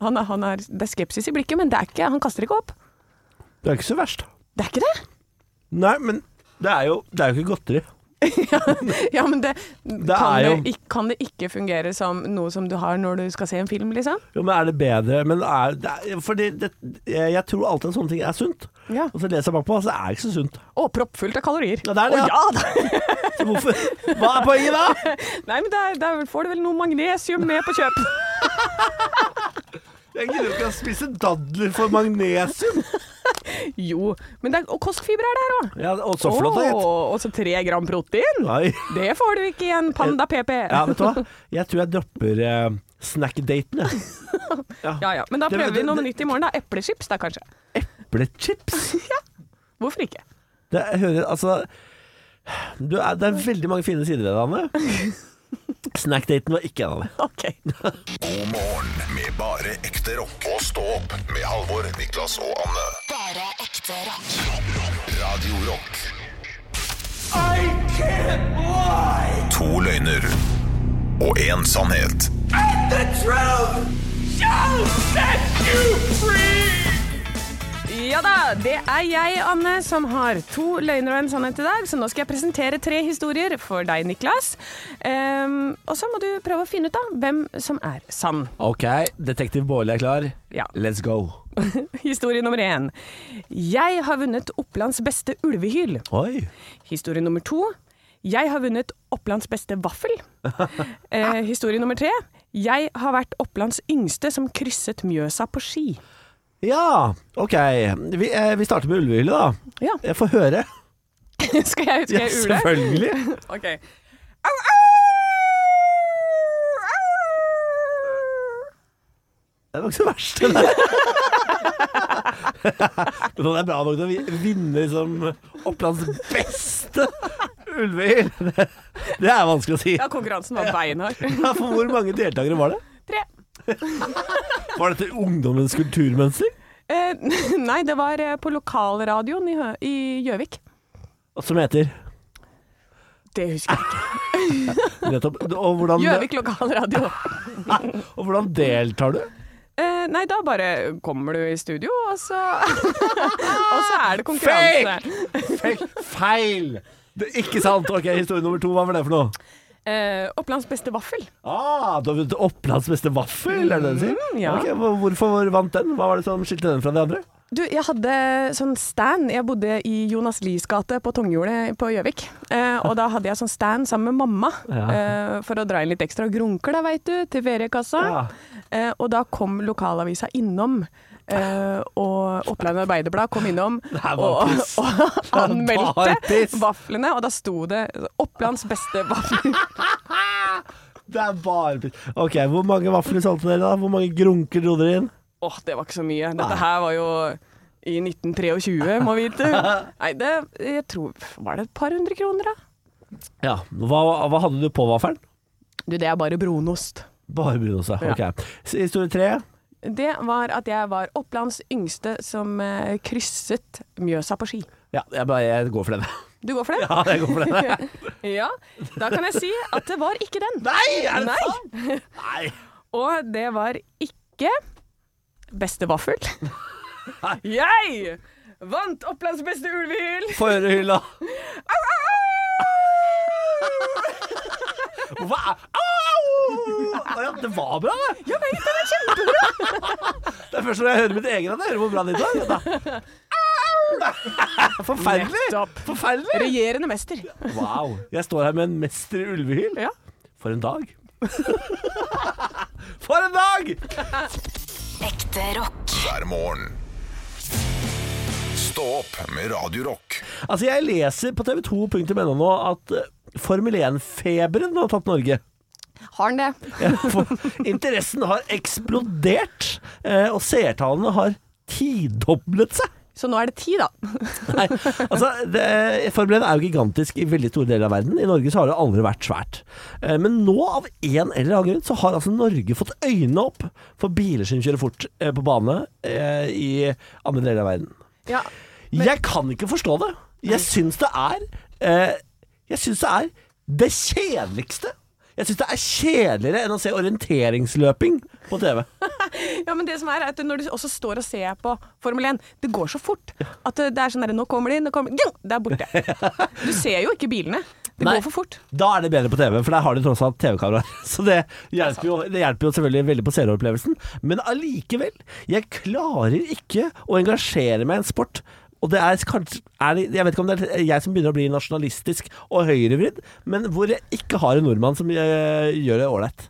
Speaker 3: han er, han er, Det er skepsis i blikket, men det er ikke, han kaster ikke opp.
Speaker 4: Det er ikke så verst.
Speaker 3: Det er ikke det?
Speaker 4: Nei, men det er jo, det er jo ikke godteri.
Speaker 3: Ja, men det, kan,
Speaker 4: er jo-
Speaker 3: det ikk- kan det ikke fungere som noe som du har når du skal se en film, liksom?
Speaker 4: Jo, men er det bedre Men er, det er, fordi det, jeg jeg tror alltid at sånne ting er sunt.
Speaker 3: Ja.
Speaker 4: Og så leser jeg bakpå, så er det ikke så sunt.
Speaker 3: Å, proppfullt av kalorier.
Speaker 4: Ja, det er det,
Speaker 3: Å,
Speaker 4: ja.
Speaker 3: da.
Speaker 4: Så hvorfor Hva er poenget da?
Speaker 3: Nei, men der, der får du vel noe magnesium med på kjøp.
Speaker 4: Jeg gidder ikke å spise dadler for magnesium.
Speaker 3: Jo, men det er, og kostfiber er der òg.
Speaker 4: Ja, og så flott, da, gitt.
Speaker 3: Og så tre gram protein.
Speaker 4: Nei.
Speaker 3: Det får du ikke i en Panda PP.
Speaker 4: Ja, vet du hva? Jeg tror jeg dropper eh, snack-daten, jeg.
Speaker 3: ja, ja. Men da
Speaker 4: Det-
Speaker 3: prøver vi
Speaker 4: det-
Speaker 3: noe
Speaker 4: det-
Speaker 3: nytt i morgen, da. Eplechips da, kanskje.
Speaker 4: Eplechips.
Speaker 3: Hvorfor ikke?
Speaker 4: Det jeg hører Altså du er, Det er veldig mange fine sider ved det, Anne. Snack-daten var ikke en av dem.
Speaker 3: OK.
Speaker 2: God morgen med bare ekte rock. Og stå opp med Halvor, Niklas og Anne.
Speaker 1: Bare ekte rock.
Speaker 2: Radio Rock. To løgner og én sannhet.
Speaker 3: Ja da, det er jeg, Anne, som har to løgner og en sannhet i dag. Så nå skal jeg presentere tre historier for deg, Niklas. Ehm, og så må du prøve å finne ut da hvem som er sann.
Speaker 4: Ok, detektiv Bårli er klar.
Speaker 3: Ja.
Speaker 4: Let's go.
Speaker 3: Historie nummer én. Jeg har vunnet Opplands beste ulvehyl.
Speaker 4: Oi.
Speaker 3: Historie nummer to. Jeg har vunnet Opplands beste vaffel. Eh, historie nummer tre. Jeg har vært Opplands yngste som krysset Mjøsa på ski.
Speaker 4: Ja, ok. Vi, eh, vi starter med ulvehyllet, da.
Speaker 3: Ja,
Speaker 4: Jeg får høre.
Speaker 3: skal jeg, skal
Speaker 4: Ja,
Speaker 3: jeg ule?
Speaker 4: selvfølgelig.
Speaker 3: Ok. Au, au, au.
Speaker 4: Det var ikke så verst, det der. Men det er bra nok til å vi- vinne liksom Opplands beste ulvehyl. Det, det er vanskelig å si.
Speaker 3: Ja, konkurransen var beinhard.
Speaker 4: Ja, for hvor mange deltakere var det?
Speaker 3: Tre.
Speaker 4: Var dette ungdommens kulturmønster?
Speaker 3: Eh, nei, det var eh, på lokalradioen i Hø- i Gjøvik.
Speaker 4: Som heter
Speaker 3: Det husker jeg ikke.
Speaker 4: nettopp Og hvordan,
Speaker 3: Gjøvik lokalradio.
Speaker 4: og hvordan deltar du?
Speaker 3: Eh, nei, da bare kommer du i studio, og så Og så er det konkurranse.
Speaker 4: Fikk feil! Det er ikke sant. Ok, Historie nummer to, hva var det for noe?
Speaker 3: Eh, Opplands beste vaffel.
Speaker 4: Ah, du har vunnet Opplands beste vaffel, er det det du sier?
Speaker 3: Mm, ja.
Speaker 4: Ok, hvor- Hvorfor vant den? Hva var det som skilte den fra de andre?
Speaker 3: Du, jeg hadde sånn stand. Jeg bodde i Jonas Lies gate på Tonghjulet på Gjøvik. Eh, og da hadde jeg sånn stand sammen med mamma eh, for å dra inn litt ekstra grunker, da, veit du, til feriekassa.
Speaker 4: Ja.
Speaker 3: Eh, og da kom lokalavisa innom. eh, og Oppland Arbeiderblad kom innom
Speaker 4: var
Speaker 3: og,
Speaker 4: piss.
Speaker 3: og
Speaker 4: var piss.
Speaker 3: anmeldte vaflene, og da sto det 'Opplands beste vafler'.
Speaker 4: Det er bare piss. Ok, Hvor mange vafler solgte dere, da? Hvor mange grunker dro dere inn?
Speaker 3: Åh, det var ikke så mye. Dette her var jo i 1923, må vite. Nei, det jeg tror, Var det et par hundre kroner, da?
Speaker 4: Ja, Hva, hva hadde du på vaffelen?
Speaker 3: Du, det er bare brunost.
Speaker 4: Bare brunost. ja. Ok. S- Historie tre.
Speaker 3: Det var at jeg var Opplands yngste som eh, krysset Mjøsa på ski.
Speaker 4: Ja, jeg, bare, jeg går for den.
Speaker 3: Du går for det?
Speaker 4: Ja, jeg går for den.
Speaker 3: Ja. Da kan jeg si at det var ikke den.
Speaker 4: Nei, er det
Speaker 3: Nei.
Speaker 4: sant? Nei.
Speaker 3: Og det var ikke beste vaffel. Jeg vant Opplands beste ulvehyl!
Speaker 4: Få høre hylla. Hva er Au! Å Ja, det var bra, det. Ja, men, det er kjempebra. Det er først når jeg hører mitt eget at jeg hører hvor bra ditt var. vet du. Au! Forferdelig.
Speaker 3: Nettopp.
Speaker 4: Forferdelig.
Speaker 3: Regjerende mester.
Speaker 4: Wow. Jeg står her med en mester i ulvehyl.
Speaker 3: Ja.
Speaker 4: For en dag. For en dag!
Speaker 1: Ekte rock.
Speaker 2: Hver morgen. Stå opp med Radio Rock.
Speaker 4: Altså, jeg leser på tv2.no nå at eh, Formel 1-feberen har tatt Norge.
Speaker 3: Har han det?
Speaker 4: Ja, for interessen har eksplodert, eh, og seertallene har tidoblet seg.
Speaker 3: Så nå er det ti, da.
Speaker 4: Nei, altså, det, Formel 1 er jo gigantisk i veldig store deler av verden. I Norge så har det aldri vært svært. Eh, Men nå, av en eller annen grunn, så har altså Norge fått øynene opp for biler som kjører fort eh, på bane eh, i andre deler av verden.
Speaker 3: Ja.
Speaker 4: Jeg kan ikke forstå det. Jeg syns det er eh, Jeg syns det er det kjedeligste. Jeg syns det er kjedeligere enn å se orienteringsløping på TV.
Speaker 3: ja, men det som er, er at når du også står og ser på Formel 1, det går så fort at det er sånn der, Nå kommer de, nå kommer de, det er borte. Du ser jo ikke bilene. Det
Speaker 4: Nei.
Speaker 3: går for fort.
Speaker 4: Da er det bedre på TV, for der har de tross alt TV-kameraer. Så det hjelper, jo, det hjelper jo selvfølgelig veldig på seeropplevelsen. Men allikevel, jeg klarer ikke å engasjere meg i en sport. Og det er kanskje er det, Jeg vet ikke om det er jeg som begynner å bli nasjonalistisk og høyrevridd, men hvor jeg ikke har en nordmann som eh, gjør det ålreit.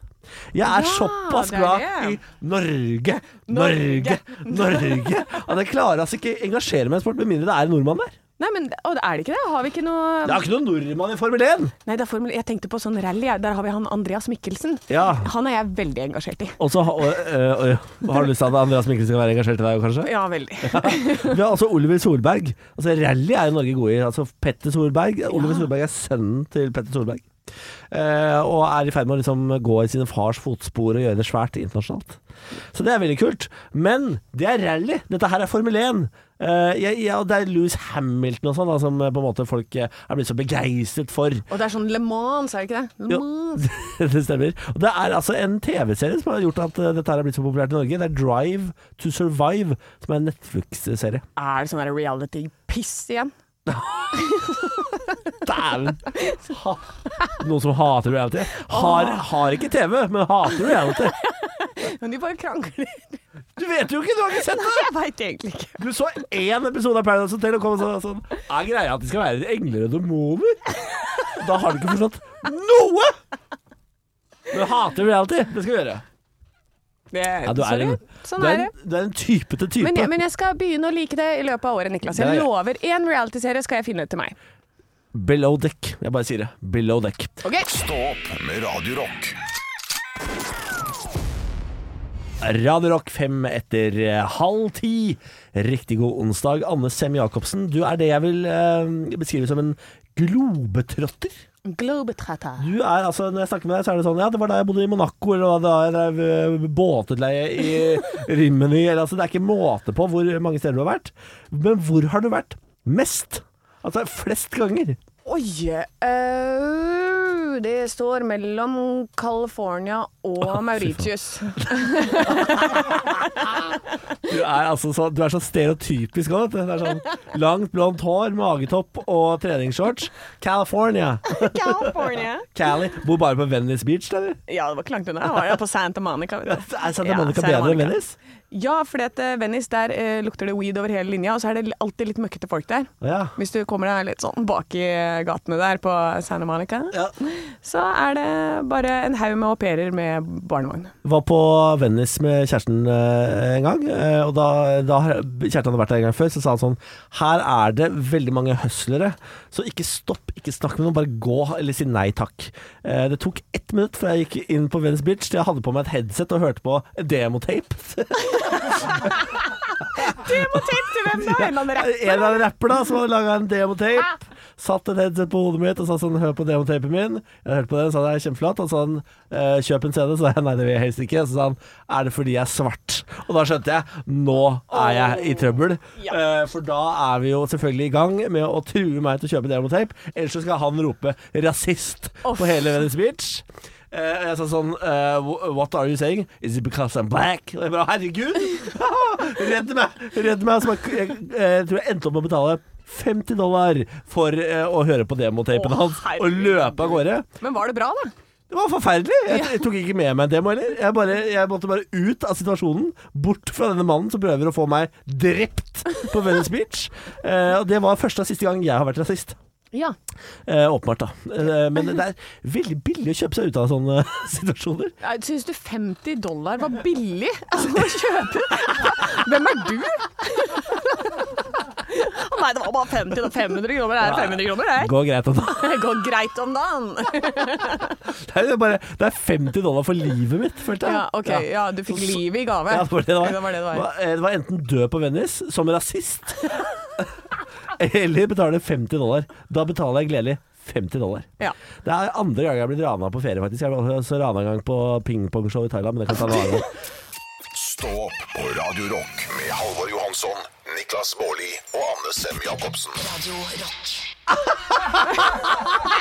Speaker 4: Jeg er
Speaker 3: Ja,
Speaker 4: såpass
Speaker 3: det er
Speaker 4: glad i
Speaker 3: det.
Speaker 4: Norge, Norge,
Speaker 3: Norge.
Speaker 4: Norge at jeg klarer altså ikke engasjere meg i en sport med mindre det er en nordmann der.
Speaker 3: Nei, men og er det ikke det? Har vi ikke noe
Speaker 4: Det er ikke noen nordmann i Formel 1!
Speaker 3: Nei, det er Formel Jeg tenkte på sånn rally. jeg. Der har vi han Andreas Mikkelsen.
Speaker 4: Ja.
Speaker 3: Han er jeg veldig engasjert i.
Speaker 4: Og så ha- og, øh, øh, har du lyst til at Andreas Mikkelsen skal være engasjert i deg, kanskje?
Speaker 3: Ja, veldig.
Speaker 4: Vi har også Oliver Solberg. Altså, rally er jo Norge god i. Altså, Petter Solberg Oliver Solberg er sønnen til Petter Solberg. Eh, og er i ferd med å liksom gå i sine fars fotspor og gjøre det svært internasjonalt. Så det er veldig kult. Men det er rally. Dette her er Formel 1. Eh, ja, ja, og det er Louis Hamilton og sånn da, som eh, på en måte folk eh, er blitt så begeistret for.
Speaker 3: Og det er sånn Le Mans, er det ikke det? Le
Speaker 4: Jo.
Speaker 3: Mans.
Speaker 4: det stemmer. Og det er altså en TV-serie som har gjort at eh, dette her er blitt så populært i Norge. Det er Drive to Survive, som er en Netflix-serie.
Speaker 3: Er det sånn der reality-piss igjen?
Speaker 4: Dæven! Ha. Noen som hater reality. Har, har ikke TV, men hater reality.
Speaker 3: Men de bare krangler.
Speaker 4: Du vet jo ikke, du har ikke sett det!
Speaker 3: Jeg veit egentlig ikke.
Speaker 4: Du så én episode av Paradise Hotel og kom sånn, sånn Er greia at de skal være engler og demoner? Da har du ikke forstått noe! Men hater reality, det skal vi gjøre.
Speaker 3: Det,
Speaker 4: Ja, du
Speaker 3: Eh,
Speaker 4: er
Speaker 3: sorry.
Speaker 4: en,
Speaker 3: sånn
Speaker 4: du
Speaker 3: er
Speaker 4: er
Speaker 3: det.
Speaker 4: en, du er en typete type.
Speaker 3: Men, men jeg skal begynne å like det i løpet av året, Niklas.
Speaker 4: Det
Speaker 3: Jeg
Speaker 4: er-
Speaker 3: lover. Én realityserie skal jeg finne ut til meg.
Speaker 4: Below deck. Jeg bare sier det. Below deck.
Speaker 3: Ok?
Speaker 2: Stå opp med Radio Rock.
Speaker 4: Radio Rock fem etter eh, halv ti. Riktig god onsdag. Anne Sem Jacobsen, du er det jeg vil eh, beskrive som en globetrotter.
Speaker 3: Globetrotter.
Speaker 4: Du er altså, Når jeg snakker med deg, så er det sånn Ja, det var da jeg bodde i Monaco, eller hva, da jeg drev eh, båtutleie i Rimini eller, altså, Det er ikke måte på hvor mange steder du har vært. Men hvor har du vært mest? Altså flest ganger.
Speaker 3: Oi! øh, det står mellom California og Mauritius.
Speaker 4: Du er, altså så, du er så stereotypisk òg. Det er sånn langt, blondt hår, magetopp og treningsshorts. California.
Speaker 3: California?
Speaker 4: Cali. Bor bare på Venice Beach, eller?
Speaker 3: Ja, det var ikke langt unna. Jeg var jo på Santa Monica. vet du.
Speaker 4: Er Santa
Speaker 3: Ja,
Speaker 4: Monica
Speaker 3: Santa
Speaker 4: bedre enn
Speaker 3: Monica.
Speaker 4: Venice?
Speaker 3: Ja, for Venice der eh, lukter det weed over hele linja, og så er det alltid litt møkkete folk der.
Speaker 4: Ja.
Speaker 3: Hvis du kommer deg litt sånn bak i gatene der på Santa Monica, så er det bare en haug med au pairer med barnevogn.
Speaker 4: Var på Venice med kjæresten eh, en gang, eh, og da, da kjæresten hadde vært der en gang før, så sa han sånn Her er det veldig mange hustlere, så ikke stopp, ikke snakk med noen, bare gå eller si nei takk. Eh, det tok ett minutt fra jeg gikk inn på Venice Beach til jeg hadde på meg et headset og hørte på demotape.
Speaker 3: Demotape til hvem da? En eller annen
Speaker 4: En
Speaker 3: rapper?
Speaker 4: eller annen rapper da som hadde laga en demotape. Satt et headset på hodet mitt og sa sånn 'hør på demotapen min'. Jeg hørte på den, sa det er kjempeflott. Og så sa han «Eh, 'kjøp en CD', så sa jeg nei, det vil jeg helst ikke. Så sa han 'er det fordi jeg er svart'? Og da skjønte jeg nå er jeg i trøbbel. Eh, For da er vi jo selvfølgelig i gang med å true meg til å kjøpe demotape, ellers så skal han rope 'rasist' på hele Venice Beach. Eh, og jeg sa sånn eh, wh- What are you saying? Is it because I'm black? Og jeg bare Herregud! redd meg! Redd meg! Så jeg, jeg, jeg tror jeg endte opp med å betale 50 dollar for eh, å høre på demotapen
Speaker 3: Å,
Speaker 4: hans og
Speaker 3: herregud.
Speaker 4: løpe av gårde.
Speaker 3: Men var det bra, da?
Speaker 4: Det var forferdelig. Jeg, jeg tok ikke med meg en demo heller. Jeg, bare, jeg måtte bare ut av situasjonen. Bort fra denne mannen som prøver å få meg drept på Venice Beach. Eh, og det var første og siste gang jeg har vært rasist.
Speaker 3: Ja.
Speaker 4: Eh, åpenbart, da. Eh, men det er veldig billig å kjøpe seg ut av sånne situasjoner.
Speaker 3: Syns du 50 dollar var billig altså, å kjøpe? Hvem er du? Å Nei, det var få 50 til 500 kroner. Er det 500 kroner, det?
Speaker 4: Går greit om det.
Speaker 3: Det går greit om dagen.
Speaker 4: Det er, bare, det er 50 dollar for livet mitt, følte jeg.
Speaker 3: Ja, ok, ja, du fikk livet i gave.
Speaker 4: Ja, det var det det var.
Speaker 3: Det var det det var.
Speaker 4: Eh, det var enten dø på Venice som rasist, eller betale 50 dollar. Da betaler jeg gledelig 50 dollar.
Speaker 3: Ja.
Speaker 4: Det er andre gang jeg har blitt rana på ferie, faktisk. Jeg ble også rana en gang på pingpongshow i Thailand, men det kan ta en annen gang.
Speaker 2: Stå opp på Radio Rock med Halvor Johansson, Niklas Baarli og Anne Sem Jacobsen.
Speaker 1: Radio Rock.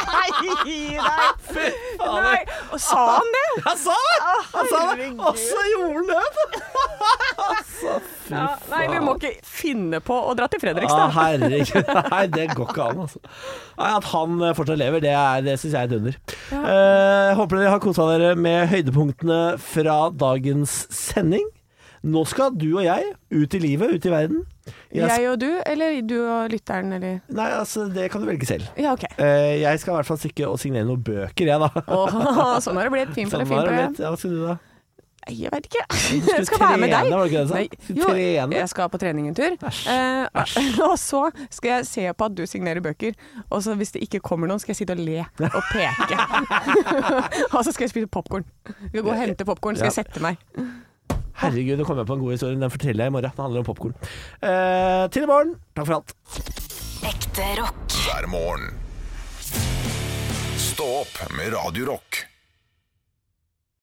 Speaker 3: Nei, nei. nei. Og sa han det?
Speaker 4: Han sa det! Han sa det!
Speaker 3: herregud.
Speaker 4: Og så gjorde han det!
Speaker 3: Ja, nei, vi må ikke finne på å dra til
Speaker 4: Ja,
Speaker 3: Fredrikstad.
Speaker 4: Ah,
Speaker 3: Ah,
Speaker 4: herregud. Nei, det går ikke an, altså. Nei, At han eh, fortsatt lever, det, er- det syns jeg er et under. Eh, håper dere har kosa dere med høydepunktene fra dagens sending. Nå skal du og jeg ut i livet, ut i verden. Jeg,
Speaker 3: Jeg og du, eller du og lytteren, eller
Speaker 4: Nei, altså, det kan du velge selv.
Speaker 3: Ja, OK.
Speaker 4: Eh, jeg skal i hvert fall stikke og signere noen bøker, jeg, da.
Speaker 3: Åh, sånn har det blitt. Fint
Speaker 4: Sånn
Speaker 3: eller
Speaker 4: var
Speaker 3: fint. eller?
Speaker 4: det blitt. Ja, hva skal du da?
Speaker 3: Nei, Jeg vet ikke.
Speaker 4: skulle
Speaker 3: Jeg skal være med
Speaker 4: trene,
Speaker 3: deg.
Speaker 4: var det ikke det du sa?
Speaker 3: Nei,
Speaker 4: Skulle
Speaker 3: jo,
Speaker 4: trene.
Speaker 3: jeg skal på trening en tur. Eh, og så skal jeg se på at du signerer bøker. Og så hvis det ikke kommer noen, skal jeg sitte og le og peke. og så skal jeg spise popkorn. Vi skal gå og hente popkorn, så skal jeg sette meg.
Speaker 4: Herregud, nå kom jeg på en god historie. Den forteller jeg i morgen. Den handler om popkorn. Eh, til i morgen. Takk for alt.
Speaker 1: Ekte rock.
Speaker 2: hver morgen. Stå opp med Radio Rock.